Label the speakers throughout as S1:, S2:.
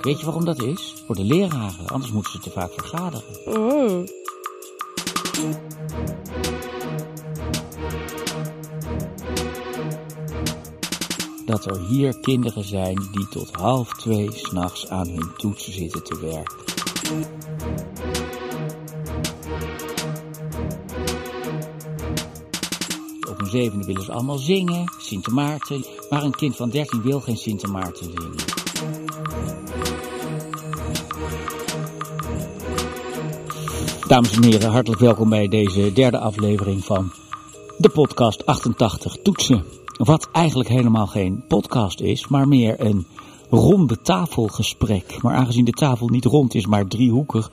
S1: Weet je waarom dat is? Voor de leraren, anders moeten ze te vaak vergaderen.
S2: Mm.
S1: Dat er hier kinderen zijn die tot half twee s'nachts aan hun toetsen zitten te werken. Op een zevende willen ze allemaal zingen, Sint Maarten. Maar een kind van 13 wil geen Sint Maarten zingen. Dames en heren, hartelijk welkom bij deze derde aflevering van de podcast 88 Toetsen. Wat eigenlijk helemaal geen podcast is, maar meer een ronde tafelgesprek. Maar aangezien de tafel niet rond is, maar driehoekig,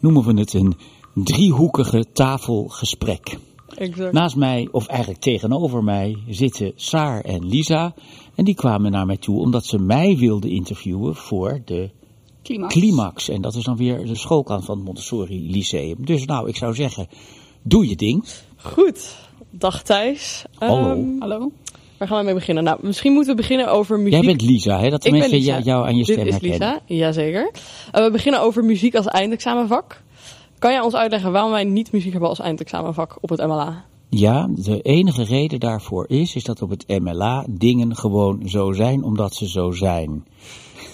S1: noemen we het een driehoekige tafelgesprek.
S2: Exact.
S1: Naast mij, of eigenlijk tegenover mij, zitten Saar en Lisa. En die kwamen naar mij toe omdat ze mij wilden interviewen voor de
S3: Klimaat.
S1: climax. En dat is dan weer de schoolkant van het Montessori Lyceum. Dus nou, ik zou zeggen, doe je ding.
S2: Goed. Dag Thijs.
S1: Hallo.
S2: Ehm,
S3: Hallo?
S2: waar gaan we mee beginnen? Nou, misschien moeten we beginnen over muziek.
S1: Jij bent Lisa, hè? Dat de
S2: Ik ben
S1: mensen
S2: Lisa.
S1: jou- jou aan je stem
S2: Dit is
S1: herkennen.
S2: Lisa, jazeker. Eh, we beginnen over muziek als eindexamenvak. Kan jij ons uitleggen waarom wij niet muziek hebben als eindexamenvak op het MLA?
S1: Ja, de enige reden daarvoor is, is dat op het MLA dingen gewoon zo zijn omdat ze zo zijn.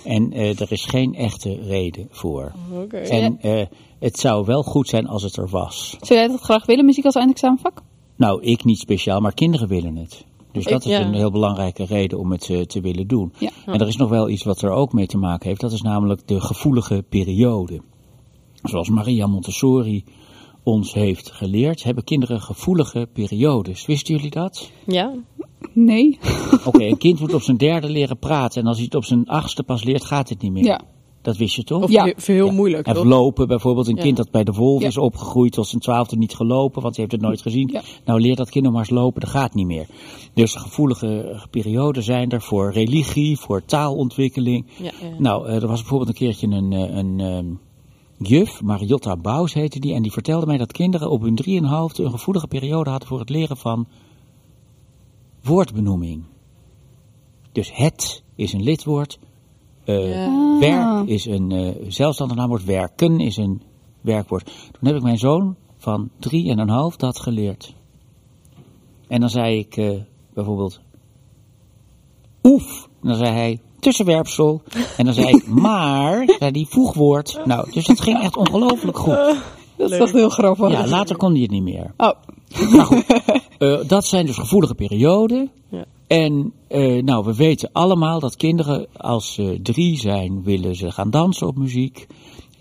S1: En eh, er is geen echte reden voor.
S2: Oké.
S1: En eh, het zou wel goed zijn als het er was.
S3: Zou jij dat graag willen, muziek als eindexamenvak?
S1: Nou, ik niet speciaal, maar kinderen willen het. Dus
S2: Ik-
S1: dat is
S2: ja.
S1: een heel belangrijke reden om het eh, te willen doen.
S3: Ja.
S1: En er is nog wel iets wat er ook mee te maken heeft. Dat is namelijk de gevoelige periode. Zoals Maria Montessori ons heeft geleerd, hebben kinderen gevoelige periodes. Wisten jullie dat?
S2: Ja?
S3: Nee.
S1: Oké, een kind moet op zijn derde leren praten. En als hij het op zijn achtste pas leert, gaat het niet meer.
S3: Ja.
S1: Dat wist je toch?
S2: Of
S3: Ja.
S2: heel, heel
S1: Ja.
S2: moeilijk.
S1: En
S2: toch?
S1: lopen, bijvoorbeeld een
S2: Ja.
S1: kind dat bij de wolf
S3: Ja.
S1: is opgegroeid tot zijn twaalfde niet gelopen, want ze heeft het nooit gezien.
S3: Ja.
S1: Nou leert dat kind nog maar eens lopen, dat gaat niet meer. Dus gevoelige perioden zijn er voor religie, voor taalontwikkeling.
S2: Ja, ja.
S1: Nou, eh, er was bijvoorbeeld een keertje een, eh, een ehm, juf, Mariotta Bouws heette die, en die vertelde mij dat kinderen op hun 3,5 een gevoelige periode hadden voor het leren van woordbenoeming. Dus het is een lidwoord. eh,
S2: Ja.
S1: Werk is een eh, zelfstandig naamwoord. Werken is een werkwoord. Toen heb ik mijn zoon van drie en een half dat geleerd. En dan zei ik eh, bijvoorbeeld oef. En dan zei hij tussenwerpsel. En dan zei ik maar, zei die voegwoord. Nou, dus dat ging echt ongelooflijk goed.
S3: Dat
S2: Leuk.
S3: is toch heel grappig.
S1: Ja, later kon hij het niet meer.
S3: Oh,
S1: Eh, dat zijn dus gevoelige perioden.
S2: Ja.
S1: En eh, nou, we weten allemaal dat kinderen als ze drie zijn, willen ze gaan dansen op muziek.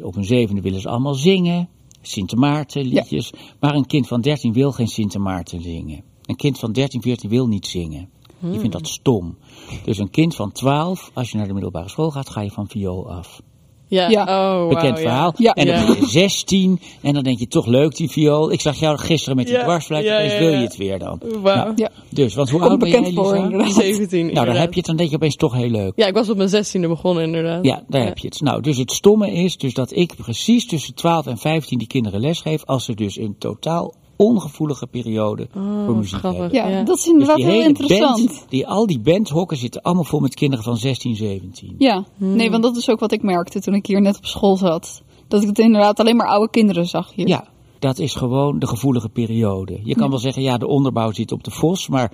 S1: Op een zevende willen ze allemaal zingen. Sint Maarten liedjes. Maar een kind van 13 wil geen Sint Maarten zingen. Een kind van 13, 14 wil niet zingen. Die vindt
S2: Hmm.
S1: dat stom. Dus een kind van 12, als je naar de middelbare school gaat, ga je van viool af.
S2: Ja.
S3: Ja.
S2: Oh, wauw,
S1: Bekend
S2: ja.
S1: verhaal.
S3: Ja.
S1: En dan
S2: Ja.
S1: ben je 16 en dan denk je toch leuk die viool. Ik zag jou gisteren met die
S2: Ja,
S1: dwarsfluit.
S2: ja,
S1: Opeens
S2: ja,
S1: wil
S2: ja.
S1: je het weer dan.
S2: Wauw.
S3: ja.
S1: Dus, want hoe
S3: Komt
S1: oud ben jij,
S3: bekend voor,
S1: Lisa?
S3: inderdaad.
S2: 17
S1: Nou, daar
S2: inderdaad.
S1: heb je het dan denk je opeens toch heel leuk.
S2: Ja, ik was op mijn zestiende begonnen inderdaad.
S1: Ja, daar heb je het. Nou, dus het stomme is dus dat ik precies tussen 12 en 15 die kinderen lesgeef, als ze dus een totaal ongevoelige periode voor
S2: wat
S1: muziek
S2: grappig.
S1: hebben.
S3: Ja,
S2: Ja.
S3: dat is
S1: Dus
S3: inderdaad
S1: die
S3: Mm, heel
S1: hele
S3: interessant.
S1: Band, die, al die bandhokken zitten allemaal vol met kinderen van 16, 17.
S3: Ja, nee, want dat is ook wat ik merkte toen ik hier net op school zat. Dat ik het inderdaad alleen maar oude kinderen zag hier.
S1: Ja, dat is gewoon de gevoelige periode. Je kan wel zeggen, ja, de onderbouw zit op de vos, maar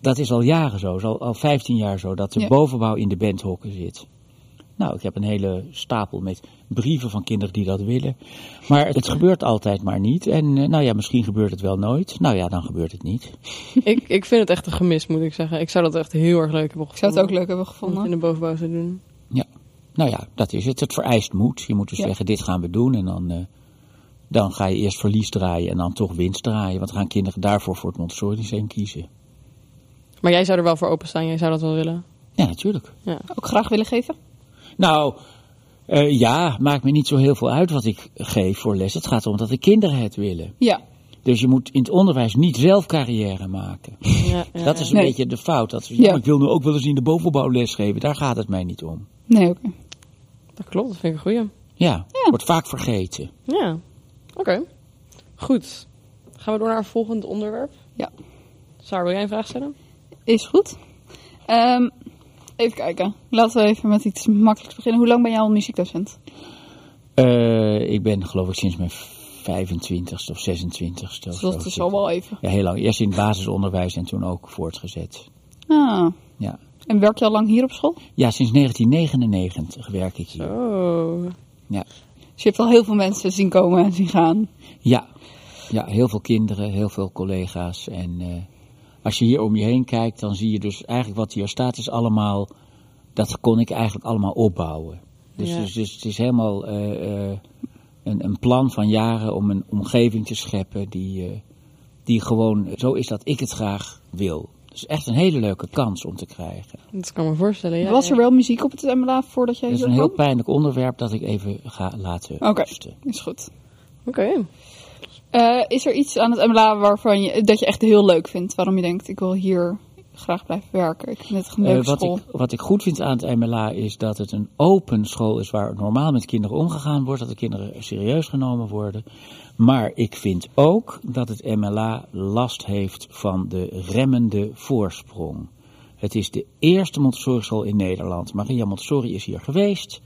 S1: dat is al jaren zo, is al, al 15 jaar zo, dat de
S3: Ja.
S1: bovenbouw in de bandhokken zit. Nou, ik heb een hele stapel met brieven van kinderen die dat willen. Maar het gebeurt altijd maar niet. En eh, nou ja, misschien gebeurt het wel nooit. Nou ja, dan gebeurt het niet.
S2: Ik, ik vind het echt een gemis, moet ik zeggen. Ik zou dat echt heel erg leuk hebben gevonden.
S3: Ik zou het ook leuk hebben
S2: om het in
S3: gevonden.
S2: de bovenbouw te doen.
S1: Ja, nou ja, dat is het. Het vereist moed. Je moet dus
S3: Ja.
S1: zeggen, dit gaan we doen. En dan, eh, dan ga je eerst verlies draaien en dan toch winst draaien. Want dan gaan kinderen daarvoor voor het Montessori Lyceum kiezen.
S2: Maar jij zou er wel voor openstaan, jij zou dat wel willen.
S1: Ja, natuurlijk.
S2: Ja.
S3: Ook graag willen geven.
S1: Nou, eh, ja, maakt me niet zo heel veel uit wat ik geef voor les. Het gaat erom dat de kinderen het willen.
S3: Ja,
S1: Dus je moet in het onderwijs niet zelf carrière maken.
S2: Ja, ja,
S1: dat
S2: ja.
S1: is een
S3: Nee.
S1: beetje de fout. Dat, ja,
S3: Ja.
S1: maar Ik wil nu ook wel eens in de bovenbouw les geven. Daar gaat het mij niet om.
S3: nee, oké.
S2: Dat klopt, dat vind ik een goeie.
S1: Ja, wordt vaak vergeten.
S2: Ja, oké. Goed. Gaan we door naar het volgende onderwerp?
S3: Ja.
S2: Saar, wil jij een vraag stellen?
S3: Is goed. Ehm, even kijken. Laten we even met iets makkelijks beginnen. Hoe lang ben jij al muziekdocent?
S1: Eh, ik ben geloof ik sinds mijn 25ste of 26ste. of
S3: Dus
S1: zo
S3: dat is
S1: zit
S3: al
S1: ik.
S3: wel even.
S1: Ja, heel lang. Eerst in het basisonderwijs en toen ook voortgezet.
S3: Ah.
S1: Ja,
S3: En werk je al lang hier op school?
S1: ja sinds 1999 werk ik hier.
S2: Oh.
S1: Ja.
S3: Dus je hebt al heel veel mensen zien komen en zien gaan.
S1: Ja. ja, heel veel kinderen, heel veel collega's. En eh, als je hier om je heen kijkt, dan zie je dus eigenlijk wat hier staat is allemaal... Dat kon ik eigenlijk allemaal opbouwen. Dus,
S2: Ja.
S1: dus, dus het is helemaal eh, eh, een, een plan van jaren om een omgeving te scheppen die, eh, die gewoon zo is dat ik het graag wil. Dus echt een hele leuke kans om te krijgen.
S2: Dat kan ik me voorstellen, ja.
S3: Was er wel muziek op het MLA voordat jij
S1: Dat is
S3: hier
S1: een heel
S3: kwam?
S1: pijnlijk onderwerp dat ik even ga laten
S3: Oké.
S1: rusten.
S3: Is goed.
S2: Oké.
S3: Eh, is er iets aan het MLA waarvan je, dat je echt heel leuk vindt? Waarom je denkt, ik wil hier graag blijven werken. Ik vind het echt een leuke
S1: Eh, wat,
S3: school.
S1: ik, wat ik goed vind aan het MLA is dat het een open school is waar normaal met kinderen omgegaan wordt, dat de kinderen serieus genomen worden. Maar ik vind ook dat het MLA last heeft van de remmende voorsprong. Het is de eerste Montessori school in Nederland. Maria Montessori is hier geweest.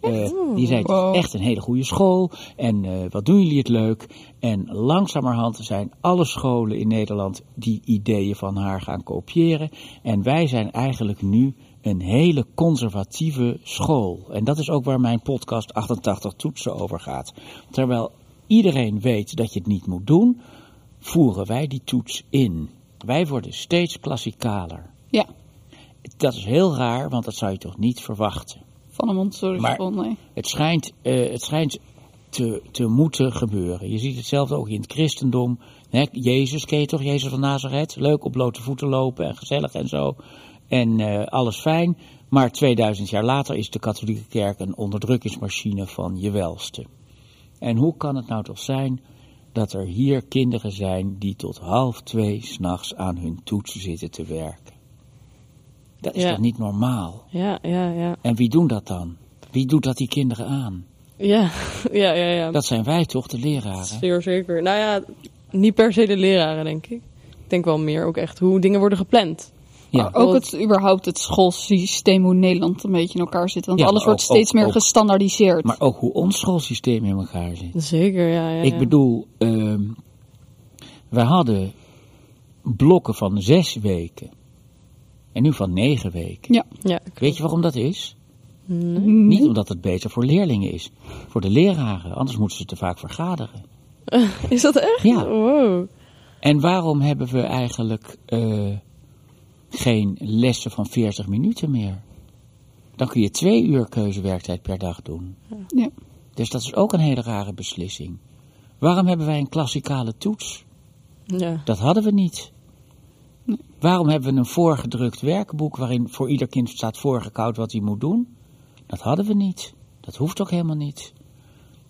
S1: Eh, die zei, het is
S3: Wow.
S1: echt een hele goede school. En eh, wat doen jullie het leuk. En langzamerhand zijn alle scholen in Nederland die ideeën van haar gaan kopiëren. En wij zijn eigenlijk nu een hele conservatieve school. En dat is ook waar mijn podcast 88 toetsen over gaat. Terwijl iedereen weet dat je het niet moet doen, voeren wij die toets in. Wij worden steeds klassikaler.
S3: Ja,
S1: Dat is heel raar, want dat zou je toch niet verwachten.
S3: van een Montessori
S1: Maar-
S3: school, nee.
S1: Het schijnt, eh, het schijnt te, te moeten gebeuren. Je ziet hetzelfde ook in het christendom. Hè, Jezus, ken je toch? Jezus van Nazareth. Leuk op blote voeten lopen en gezellig en zo. En eh, alles fijn. Maar 2000 jaar later is de katholieke kerk een onderdrukkingsmachine van je welste. En hoe kan het nou toch zijn dat er hier kinderen zijn die tot half twee s'nachts aan hun toetsen zitten te werken? Dat is
S2: Ja.
S1: toch niet normaal?
S2: Ja, ja, ja.
S1: En wie doen dat dan? Wie doet dat die kinderen aan?
S2: Ja, ja, ja, ja.
S1: Dat zijn wij toch, de
S2: Dat is
S1: leraren?
S2: zeer zeker. Nou ja, niet per se de leraren, denk ik. Ik denk wel meer ook echt hoe dingen worden gepland.
S1: Ja.
S3: Ook het, überhaupt het schoolsysteem hoe Nederland een beetje in elkaar zit. Want
S1: Ja,
S3: alles
S1: maar
S3: wordt
S1: ook-
S3: steeds
S1: ook-
S3: meer
S1: ook-
S3: gestandardiseerd.
S1: Maar ook hoe ons schoolsysteem in elkaar zit.
S2: Zeker, ja, ja.
S1: Ik bedoel, ehm wij hadden blokken van zes weken. En nu van negen weken.
S3: ja.
S2: Ja,
S1: Weet je waarom dat is?
S3: Niet
S1: Niet omdat het beter voor leerlingen is. Voor de leraren, anders moeten ze te vaak vergaderen.
S2: Is dat echt?
S1: Ja.
S2: Wow.
S1: En waarom hebben we eigenlijk eh, geen lessen van 40 minuten meer? Dan kun je twee uur keuzewerktijd per dag doen.
S3: Ja.
S1: Dus dat is ook een hele rare beslissing. Waarom hebben wij een klassikale toets?
S2: Ja.
S1: Dat hadden we niet. Waarom hebben we een voorgedrukt werkboek waarin voor ieder kind staat voorgekoud wat hij moet doen? Dat hadden we niet. Dat hoeft ook helemaal niet.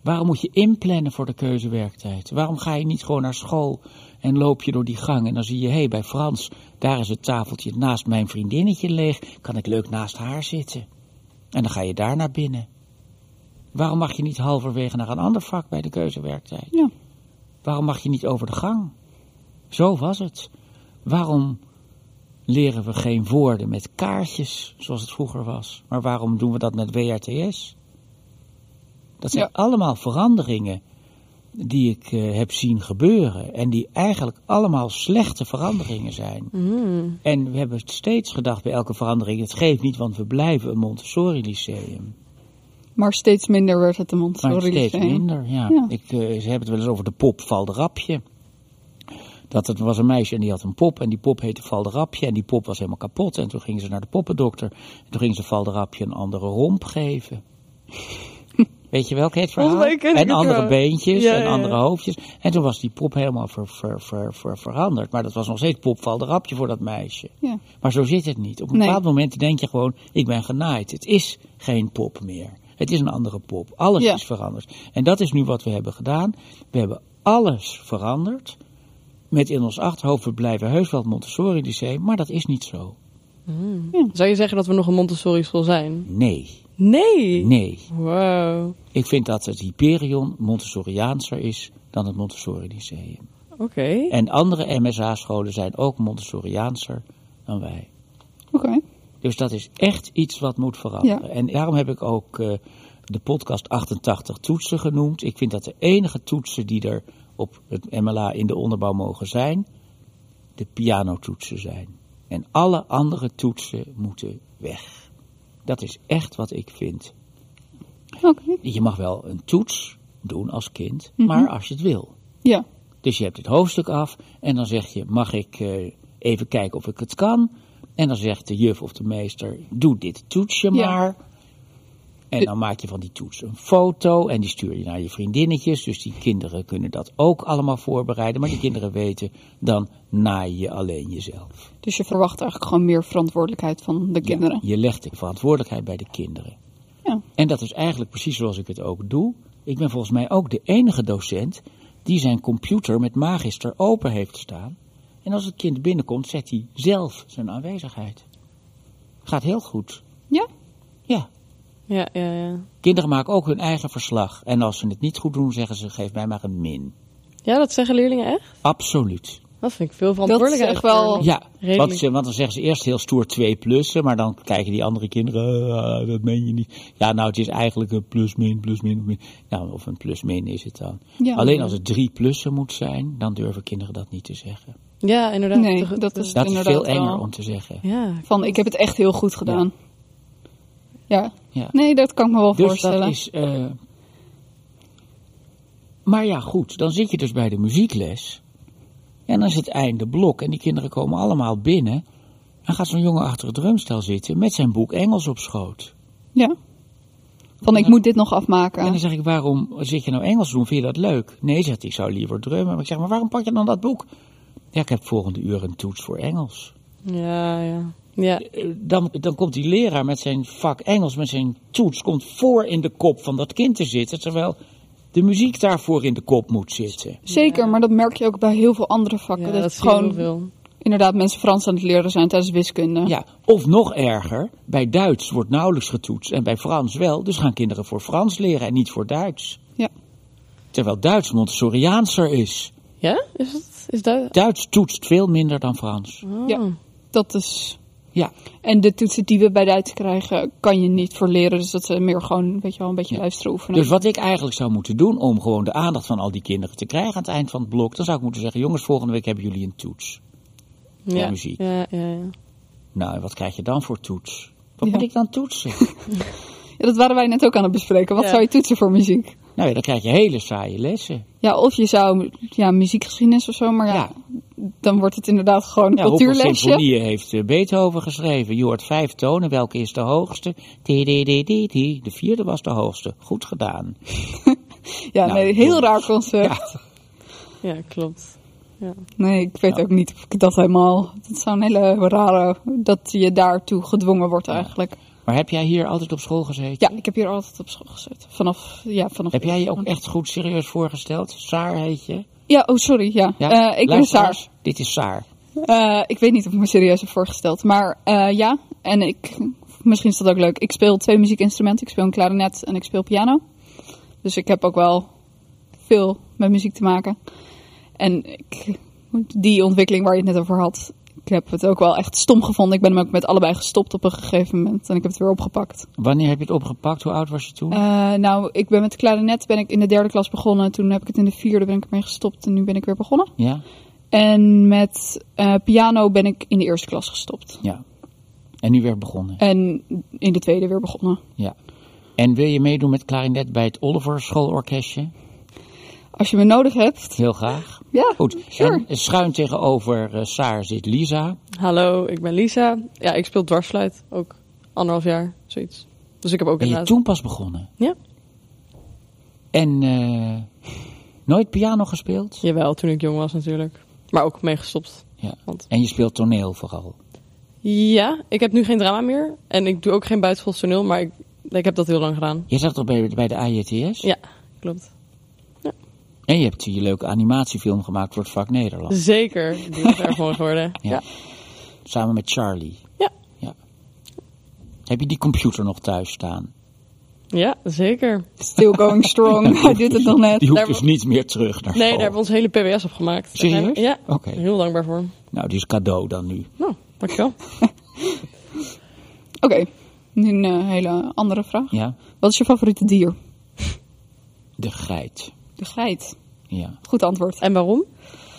S1: Waarom moet je inplannen voor de keuzewerktijd? Waarom ga je niet gewoon naar school en loop je door die gang en dan zie je, hé, hey, bij Frans, daar is het tafeltje naast mijn vriendinnetje leeg, kan ik leuk naast haar zitten? En dan ga je daar naar binnen. Waarom mag je niet halverwege naar een ander vak bij de keuzewerktijd?
S3: Ja.
S1: Waarom mag je niet over de gang? Zo was het. Waarom leren we geen woorden met kaartjes, zoals het vroeger was? Maar waarom doen we dat met WRTS? Dat zijn
S3: Ja.
S1: allemaal veranderingen die ik eh, heb zien gebeuren. En die eigenlijk allemaal slechte veranderingen zijn.
S2: Mm.
S1: En we hebben steeds gedacht bij elke verandering, het geeft niet, want we blijven een Montessori lyceum.
S3: Maar steeds minder werd het de
S1: Maar
S3: Montessori
S1: steeds
S3: systeem.
S1: minder, ja.
S3: Ja.
S1: Ik, eh, ze hebben het wel eens over de pop Valderapje. Dat het was een meisje en die had een pop en die pop heette Valderapje en die pop was helemaal kapot. En toen gingen ze naar de poppendokter en toen gingen ze Valderapje een andere romp geven. Weet je welk het verhaal?
S2: Volgens mij ken Oh, ik
S1: en
S2: het
S1: andere
S2: wel.
S1: beentjes
S2: Ja,
S1: en
S2: ja,
S1: andere
S2: ja.
S1: hoofdjes. En toen was die pop helemaal ver, ver, ver, ver- veranderd. Maar dat was nog steeds pop Valderapje voor dat meisje.
S3: Ja.
S1: Maar zo zit het niet. Op een
S3: Nee.
S1: bepaald moment denk je gewoon, ik ben genaaid. Het is geen pop meer. Het is een andere pop. Alles
S3: Ja.
S1: is veranderd. En dat is nu wat we hebben gedaan. We hebben alles veranderd. Met in ons achterhoofd, we blijven heus wel het Montessori Lyceum. Maar dat is niet zo.
S2: Zou je zeggen dat we nog een Montessori school zijn?
S1: Nee,
S2: Nee.
S1: nee.
S2: Wow.
S1: Ik vind dat het Hyperion Montessoriaanser is dan het Montessori Lyceum.
S2: Oké. Oké.
S1: En andere MSA-scholen zijn ook Montessoriaanser dan wij.
S3: Oké.
S1: Dus dat is echt iets wat moet veranderen. En daarom heb ik ook eh, de podcast 88 toetsen genoemd. Ik vind dat de enige toetsen die er op het MLA in de onderbouw mogen zijn, de pianotoetsen zijn. En alle andere toetsen moeten weg. Dat is echt wat ik vind.
S3: Oké.
S1: Je mag wel een toets doen als kind,
S3: Mhm.
S1: maar als je het wil.
S3: Ja.
S1: Dus je hebt het hoofdstuk af en dan zeg je, mag ik eh, even kijken of ik het kan? En dan zegt de juf of de meester, doe dit toetsje
S3: Ja.
S1: maar. En dan maak je van die toets een foto en die stuur je naar je vriendinnetjes. Dus die kinderen kunnen dat ook allemaal voorbereiden. Maar die kinderen weten, dan naai je alleen jezelf.
S3: Dus je verwacht eigenlijk gewoon meer verantwoordelijkheid van de kinderen.
S1: Je legt de verantwoordelijkheid bij de kinderen.
S3: Ja.
S1: En dat is eigenlijk precies zoals ik het ook doe. Ik ben volgens mij ook de enige docent die zijn computer met magister open heeft staan. En als het kind binnenkomt, zet hij zelf zijn aanwezigheid. Gaat heel goed.
S3: Ja?
S1: Ja.
S2: Ja, ja, ja.
S1: Kinderen maken ook hun eigen verslag. En als ze het niet goed doen, zeggen ze: geef mij maar een min.
S2: Ja, dat zeggen leerlingen echt?
S1: Absoluut.
S2: Dat vind ik veel
S3: is
S2: verantwoordelijkheid.
S3: echt wel-
S2: voor-
S1: Ja,
S2: redelijk.
S1: want, ze- want dan zeggen ze eerst heel stoer twee plussen, maar dan kijken die andere kinderen, "Eh, dat meen je niet. Ja, nou, het is eigenlijk een plus, min, plus, min, min. Nou, of een plus, min is het dan.
S3: Ja.
S1: Alleen als het drie plussen moet zijn, dan durven kinderen dat niet te zeggen.
S2: Ja, inderdaad.
S3: Nee,
S2: Toch-
S3: dat
S2: toch-
S3: is-
S1: Dat is
S3: Inderdaad
S1: veel enger
S3: wel.
S1: om te zeggen.
S2: Ja,
S3: Van, ik heb het echt heel goed gedaan. Ja.
S1: Ja.
S3: Nee, dat kan ik me wel
S1: Dus
S3: voorstellen.
S1: dat is. eh, Maar ja, goed, dan zit je dus bij de muziekles. En dan is het einde blok en die kinderen komen allemaal binnen. Dan gaat zo'n jongen achter het drumstel zitten met zijn boek Engels op schoot.
S3: Ja. Van, ik moet dit nog afmaken.
S1: En dan zeg ik, waarom zit je nou Engels te doen? Vind je dat leuk? Nee, zegt hij, ik zou liever drummen. Maar ik zeg, maar waarom pak je dan dat boek? Ja, ik heb volgende uur een toets voor Engels.
S2: ja, ja. Ja,
S1: Eh, Dan, dan komt die leraar met zijn vak Engels, met zijn toets, komt voor in de kop van dat kind te zitten. Terwijl de muziek daarvoor in de kop moet zitten.
S3: Zeker, maar dat merk je ook bij heel veel andere vakken.
S2: ja
S3: dat
S2: dat
S3: het
S2: is gewoon
S3: gewoon
S2: heel veel.
S3: inderdaad mensen Frans aan het leren zijn tijdens wiskunde.
S1: Ja, of nog erger, bij Duits wordt nauwelijks getoetst en bij Frans wel. Dus gaan kinderen voor Frans leren en niet voor Duits.
S3: Ja.
S1: Terwijl Duits Montessoriaanser is.
S2: Ja? Is het? Is dat?
S1: Duits toetst veel minder dan Frans.
S2: Oh.
S3: Ja. Dat is...
S1: Ja,
S3: En de toetsen die we bij Duits krijgen, kan je niet voor leren. Dus dat is meer gewoon, weet je wel, een beetje
S1: Ja.
S3: luisteren oefenen.
S1: Dus wat ik eigenlijk zou moeten doen om gewoon de aandacht van al die kinderen te krijgen aan het eind van het blok, dan zou ik moeten zeggen: jongens, volgende week hebben jullie een toets.
S2: Ja,
S1: muziek.
S2: Ja, ja, ja.
S1: Nou, en wat krijg je dan voor toets? Wat
S3: Ja.
S1: moet ik dan toetsen?
S3: Ja, dat waren wij net ook aan het bespreken. Wat
S2: Ja.
S3: zou je toetsen voor muziek?
S1: nou ja, dan krijg je hele saaie lessen.
S3: Ja, of je zou ja, muziekgeschiedenis of zo, maar ja,
S1: Ja.
S3: dan wordt het inderdaad gewoon een
S1: Ja, hoeveel
S3: cultuurlesje.
S1: symfonieën heeft eh, Beethoven geschreven? Je hoort vijf tonen, welke is de hoogste? Ti, di, di, di, di. De vierde was de hoogste. Goed gedaan.
S3: Ja,
S1: Nou,
S3: nee, heel
S1: dom.
S3: raar eh, concept.
S2: Ja, klopt.
S3: Nee, ik weet ook niet of ik dat helemaal... Dat zou een hele rare... Dat je daartoe gedwongen wordt eigenlijk.
S1: Maar heb jij hier altijd op school gezeten?
S3: Ja, ik heb hier altijd op school gezeten. Vanaf... Ja, vanaf...
S1: Heb jij je ook echt goed serieus voorgesteld? Saar heet je?
S3: Ja, oh sorry, ja.
S1: Ja?
S3: Eh, ik ben
S1: Luisteraars,
S3: Saar.
S1: Dit is Saar.
S3: Eh, ik weet niet of ik me serieus heb voorgesteld. Maar eh, ja, en ik... Misschien is dat ook leuk. Ik speel twee muziekinstrumenten. Ik speel een klarinet en ik speel piano. Dus ik heb ook wel veel met muziek te maken. En ik, die ontwikkeling waar je het net over had... Ik heb het ook wel echt stom gevonden. Ik ben hem ook met allebei gestopt op een gegeven moment. En ik heb het weer opgepakt.
S1: Wanneer heb je het opgepakt? Hoe oud was je toen?
S3: Eh, nou, ik ben met de klarinet ben ik in de derde klas begonnen. Toen heb ik het in de vierde ben ik ermee gestopt en nu ben ik weer begonnen.
S1: ja?
S3: En met eh, piano ben ik in de eerste klas gestopt.
S1: Ja. En nu weer begonnen.
S3: En in de tweede weer begonnen.
S1: Ja. En wil je meedoen met klarinet bij het Oliver Schoolorkestje?
S3: Als je me nodig hebt.
S1: Heel graag.
S3: Ja,
S1: Goed.
S3: Sure.
S1: En schuin tegenover eh, Saar zit Lisa.
S2: Hallo, ik ben Lisa. Ja, ik speel dwarsfluit. Ook anderhalf jaar, zoiets. Dus ik heb ook
S1: Ben je
S2: inderdaad...
S1: toen pas begonnen?
S2: Ja.
S1: En eh, nooit piano gespeeld?
S2: Jawel, toen ik jong was natuurlijk. Maar ook meegestopt.
S1: Ja.
S2: Want-
S1: En je speelt toneel vooral.
S2: Ja, ik heb nu geen drama meer. En ik doe ook geen buitenschools toneel, maar ik, ik heb dat heel lang gedaan.
S1: Je zat al bij, bij de AJTS?
S2: Ja, klopt.
S1: En je hebt die leuke animatiefilm gemaakt voor het vak Nederland.
S2: Zeker. Die is erg mooi geworden.
S1: Ja.
S2: Ja.
S1: Samen met Charlie.
S2: Ja.
S1: ja. Heb je die computer nog thuis staan?
S2: Ja, zeker.
S3: Still going strong. Hij doet het nog net.
S1: Die hoeft
S2: Daar-
S1: dus niet meer terug naar school.
S2: Nee, daar hebben we ons hele PBS op gemaakt. Daar zijn we-
S1: Oh. Serieus?
S2: Ja,
S1: Oké.
S2: heel dankbaar voor.
S1: Nou, die is cadeau dan nu.
S2: Nou, dankjewel.
S3: Oké, nu een eh, hele andere vraag.
S1: Ja,
S3: Wat is je favoriete dier?
S1: de geit.
S3: De geit.
S1: Ja.
S3: Goed antwoord.
S2: En waarom?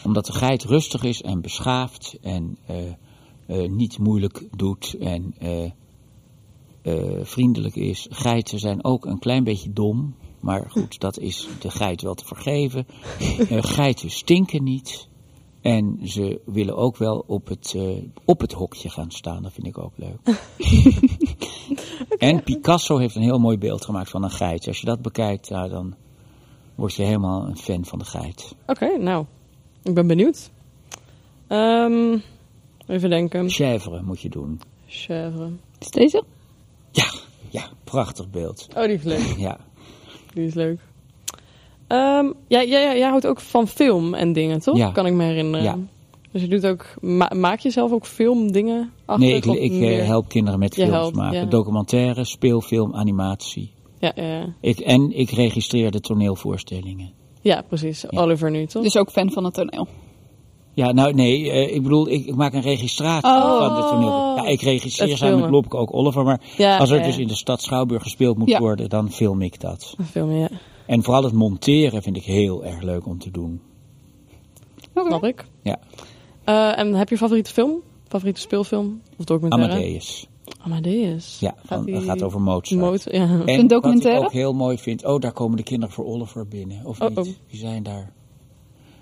S1: Omdat de geit rustig is en beschaafd en eh, eh, niet moeilijk doet en eh, eh, vriendelijk is. Geiten zijn ook een klein beetje dom, maar goed, dat is de geit wel te vergeven. Eh, geiten stinken niet en ze willen ook wel op het, eh, op het hokje gaan staan, dat vind ik ook leuk. En Picasso heeft een heel mooi beeld gemaakt van een geit. Als je dat bekijkt, ja, dan word je helemaal een fan van de geit.
S2: Oké, nou. Ik ben benieuwd. Ehm, even denken.
S1: Chèvre moet je doen.
S2: Chèvre.
S3: Is deze?
S1: Ja, ja, prachtig beeld.
S2: Oh, die is leuk.
S1: Ja,
S2: Die is leuk. Ehm, jij, jij, jij houdt ook van film en dingen, toch?
S1: Ja.
S2: Kan ik me herinneren.
S1: Ja.
S2: Dus je doet ook, ma- maak je zelf ook filmdingen achter?
S1: nee, ik, ik eh, help kinderen met
S2: Je
S1: films
S2: helpt,
S1: maken.
S2: ja.
S1: Documentaire, speelfilm, animatie.
S2: Ja, ja, ja.
S1: Ik, en ik registreer de toneelvoorstellingen.
S2: ja precies. Oliver nu, toch?
S3: Dus ook fan van het toneel.
S1: Ja, nou nee, eh, ik bedoel, ik, ik maak een registratie
S3: Oh.
S1: van de toneel. Ja, ik regisseer
S2: Het
S1: samen met
S2: filmen.
S1: Lopke ook Oliver, maar
S2: Ja, eh.
S1: als er
S2: ja.
S1: dus in de stad Schouwburg gespeeld moet
S3: Ja.
S1: worden, dan film ik dat.
S2: Film, ja.
S1: En vooral het monteren vind ik heel erg leuk om te doen.
S3: Oké.
S2: Snap ik.
S1: Ja,
S2: Eh, en heb je favoriete film? Favoriete speelfilm? Of documentaire?
S1: Amadeus.
S2: Amadeus.
S1: Ja, van,
S2: die-
S1: het gaat over Mozart.
S2: Motor, ja.
S1: En
S3: Een documentaire?
S1: wat ik ook heel mooi vind. Oh, daar komen de kinderen voor Oliver binnen. Of
S2: Oh,
S1: niet?
S2: oh.
S1: Die zijn daar.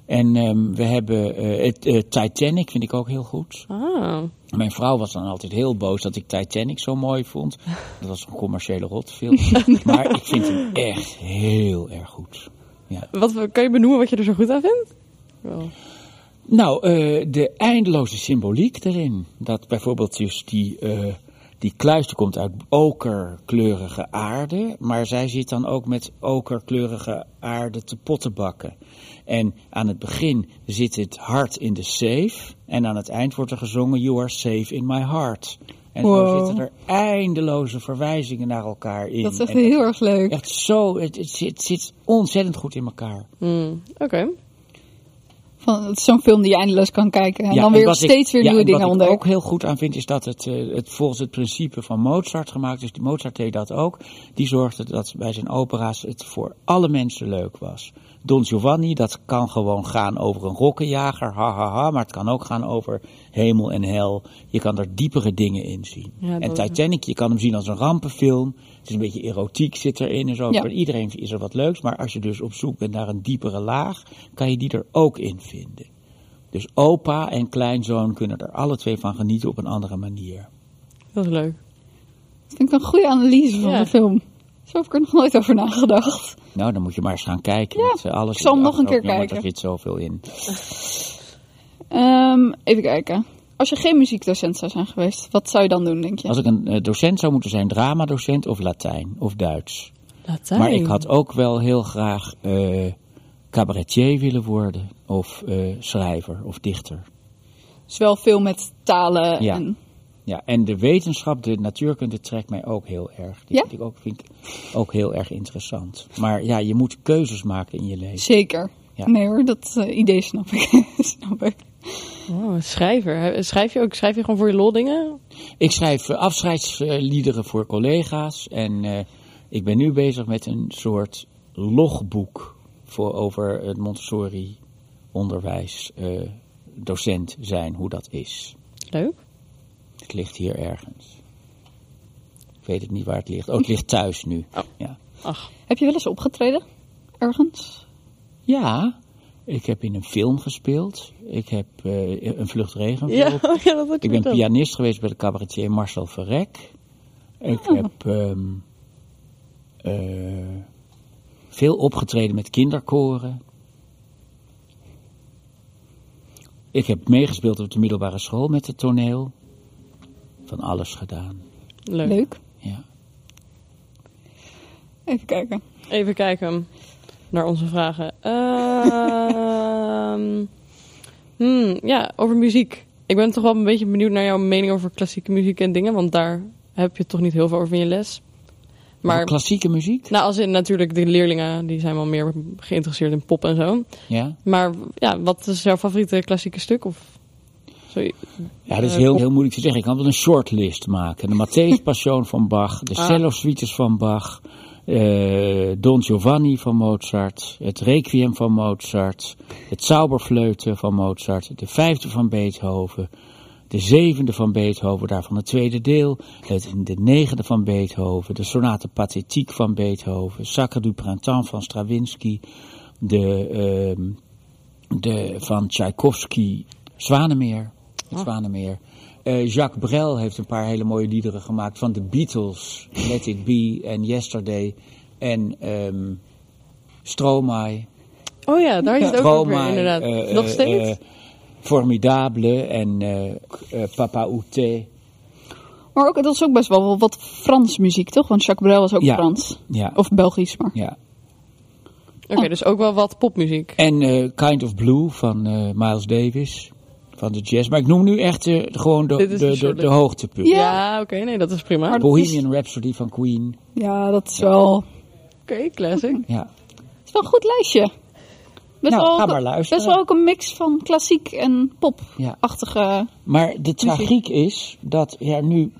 S1: En ehm, we hebben eh, het, eh, Titanic, vind ik ook heel goed.
S2: Ah,
S1: Mijn vrouw was dan altijd heel boos dat ik Titanic zo mooi vond. Dat was een commerciële rotfilm. maar ik vind hem echt heel erg goed. Ja.
S2: wat, kan je benoemen wat je er zo goed aan vindt? Wel.
S1: Nou, eh, de eindeloze symboliek erin. Dat bijvoorbeeld dus die, eh die kluister komt uit okerkleurige aarde. Maar zij zit dan ook met okerkleurige aarde te potten bakken. En aan het begin zit het hart in de safe. En aan het eind wordt er gezongen You are safe in my heart. En zo
S3: Wow.
S1: zitten er eindeloze verwijzingen naar elkaar in.
S3: Dat is echt
S1: En
S3: heel erg leuk.
S1: Echt zo, het, het zit, zit ontzettend goed in elkaar.
S2: Hmm, Oké.
S3: Van, het is zo'n film die je eindeloos kan kijken. En
S1: Ja,
S3: dan
S1: en
S3: weer
S1: wat ik-
S3: steeds weer
S1: ja,
S3: nieuwe
S1: en
S3: dingen
S1: Wat ik
S3: ontdekken.
S1: ook heel goed aan vind, is dat het, eh, het volgens het principe van Mozart gemaakt is. Die Mozart deed dat ook. Die zorgde dat bij zijn opera's het voor alle mensen leuk was. Don Giovanni, dat kan gewoon gaan over een rokkenjager, ha, ha, ha. Maar het kan ook gaan over hemel en hel. Je kan er diepere dingen in zien.
S2: Ja,
S1: en
S2: dat-
S1: Titanic, je kan hem zien als een rampenfilm. Het is een beetje erotiek zit erin en zo.
S3: Ja.
S1: Voor iedereen is er wat leuks. Maar als je dus op zoek bent naar een diepere laag, kan je die er ook in vinden. Dus opa en kleinzoon kunnen er alle twee van genieten op een andere manier.
S2: Dat is leuk.
S3: Dat vind ik een goede analyse van
S2: Ja.
S3: de film. Zo heb ik er nog nooit over nagedacht.
S1: Nou, dan moet je maar eens gaan kijken.
S3: Ja,
S1: want, eh, alles
S3: ik zal
S1: in de
S3: hem nog een keer
S1: achterhoofd,
S3: kijken.
S1: Er zit zoveel in.
S3: Ehm, even kijken. Als je geen muziekdocent zou zijn geweest, wat zou je dan doen, denk je?
S1: Als ik een eh, docent zou moeten zijn, dramadocent of Latijn of Duits.
S2: Latijn.
S1: Maar ik had ook wel heel graag eh, cabaretier willen worden. Of eh, schrijver of dichter.
S3: Dus wel veel met talen.
S1: Ja.
S3: En,
S1: Ja, en de wetenschap, de natuurkunde trekt mij ook heel erg. Die
S3: Ja?
S1: vind ik ook, vind ik ook heel erg interessant. Maar ja, je moet keuzes maken in je leven.
S3: zeker.
S1: Ja.
S3: Nee hoor, dat eh, idee snap ik. snap ik.
S2: Wow, Oh, schrijver. Schrijf je ook schrijf je gewoon voor je lol dingen?
S1: Ik schrijf eh, afscheidsliederen voor collega's en eh, ik ben nu bezig met een soort logboek voor over het Montessori onderwijs eh, docent zijn, hoe dat is.
S2: Leuk.
S1: Het ligt hier ergens. Ik weet het niet waar het ligt. Oh, het ligt thuis nu.
S2: Oh.
S1: Ja.
S2: Ach,
S3: Heb je wel eens opgetreden? Ergens?
S1: ja, ik heb in een film gespeeld. Ik heb eh, een vlucht regenvogel
S2: ja, ja dat had je
S1: Ik ben
S2: verteld.
S1: pianist geweest bij de cabaretier Marcel Verrek. Ik heb ehm, eh, veel opgetreden met kinderkoren. Ik heb meegespeeld op de middelbare school met het toneel. Van alles gedaan.
S2: Leuk.
S3: Leuk.
S1: Ja.
S3: Even kijken.
S2: Even kijken naar onze vragen. Ehm, hmm, ja, over muziek. Ik ben toch wel een beetje benieuwd naar jouw mening over klassieke muziek en dingen, want daar heb je toch niet heel veel over in je les.
S1: Maar,
S2: Maar
S1: klassieke muziek?
S2: nou, als in natuurlijk de leerlingen, die zijn wel meer geïnteresseerd in pop en zo.
S1: Ja.
S2: Maar ja, wat is jouw favoriete klassieke stuk? Of sorry.
S1: Ja, dat is
S2: Eh,
S1: heel,
S2: pop.
S1: heel moeilijk te zeggen. Ik kan wel een shortlist maken. De Matthäus Passion van Bach, de
S2: Ah.
S1: cello suites van Bach, eh, Don Giovanni van Mozart, het Requiem van Mozart, het Zauberfleuten van Mozart, de vijfde van Beethoven, de zevende van Beethoven, daarvan het tweede deel, het, de negende van Beethoven, de sonate pathétique van Beethoven, Sacre du Printemps van Stravinsky, de, ehm, de van Tchaikovsky, Zwanemeer. Het
S2: Ah.
S1: Zwanemeer. Eh, Jacques Brel heeft een paar hele mooie liederen gemaakt van de Beatles, Let It Be en Yesterday en ehm Stromae.
S2: Oh ja, daar is het ook over,
S1: Stromae,
S2: inderdaad.
S1: eh, eh,
S2: Nog steeds?
S1: eh, Formidable en eh, eh, Papa Outé.
S3: Maar ook, dat is ook best wel wel wat Frans muziek, toch? Want Jacques Brel was ook
S1: Ja.
S3: Frans.
S1: Ja.
S2: Oh.
S3: Of Belgisch, maar.
S1: ja.
S2: Oké, dus ook wel wat popmuziek.
S1: En eh, Kind of Blue van eh, Miles Davis, van de jazz. Maar ik noem nu echt eh, gewoon de,
S2: Dit
S1: de,
S2: is de
S1: de,
S2: shortlist.
S1: de hoogtepunten.
S3: Ja.
S2: Ja, oké, nee, dat is prima.
S3: Maar
S2: Oké,
S3: dat is-
S1: Bohemian Rhapsody van Queen.
S3: Ja, dat is wel...
S2: classic.
S1: Ja.
S3: Het is wel een goed lijstje. Best
S1: Nou,
S3: wel
S1: ga
S3: ook-
S1: maar luisteren.
S3: Best wel ook een mix van klassiek en pop-achtige...
S1: Maar de tragiek is dat er nu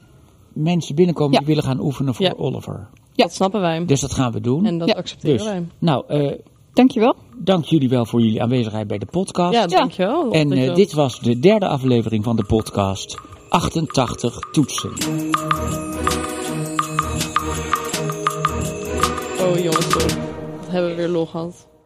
S1: mensen binnenkomen
S3: Ja.
S1: die willen gaan oefenen voor
S2: Ja.
S1: Oliver.
S3: Ja.
S2: Dat snappen wij.
S1: Dus dat gaan we doen.
S2: en dat
S3: Ja.
S2: accepteren
S1: dus,
S2: wij.
S1: nou, eh,
S3: Dankjewel.
S1: dank jullie wel voor jullie aanwezigheid bij de podcast.
S2: Ja, dankjewel.
S1: en
S2: Dat je-
S1: eh, dit was de derde aflevering van de podcast 88 Toetsen.
S2: Oh jongens, sorry. Dat hebben we weer lol gehad.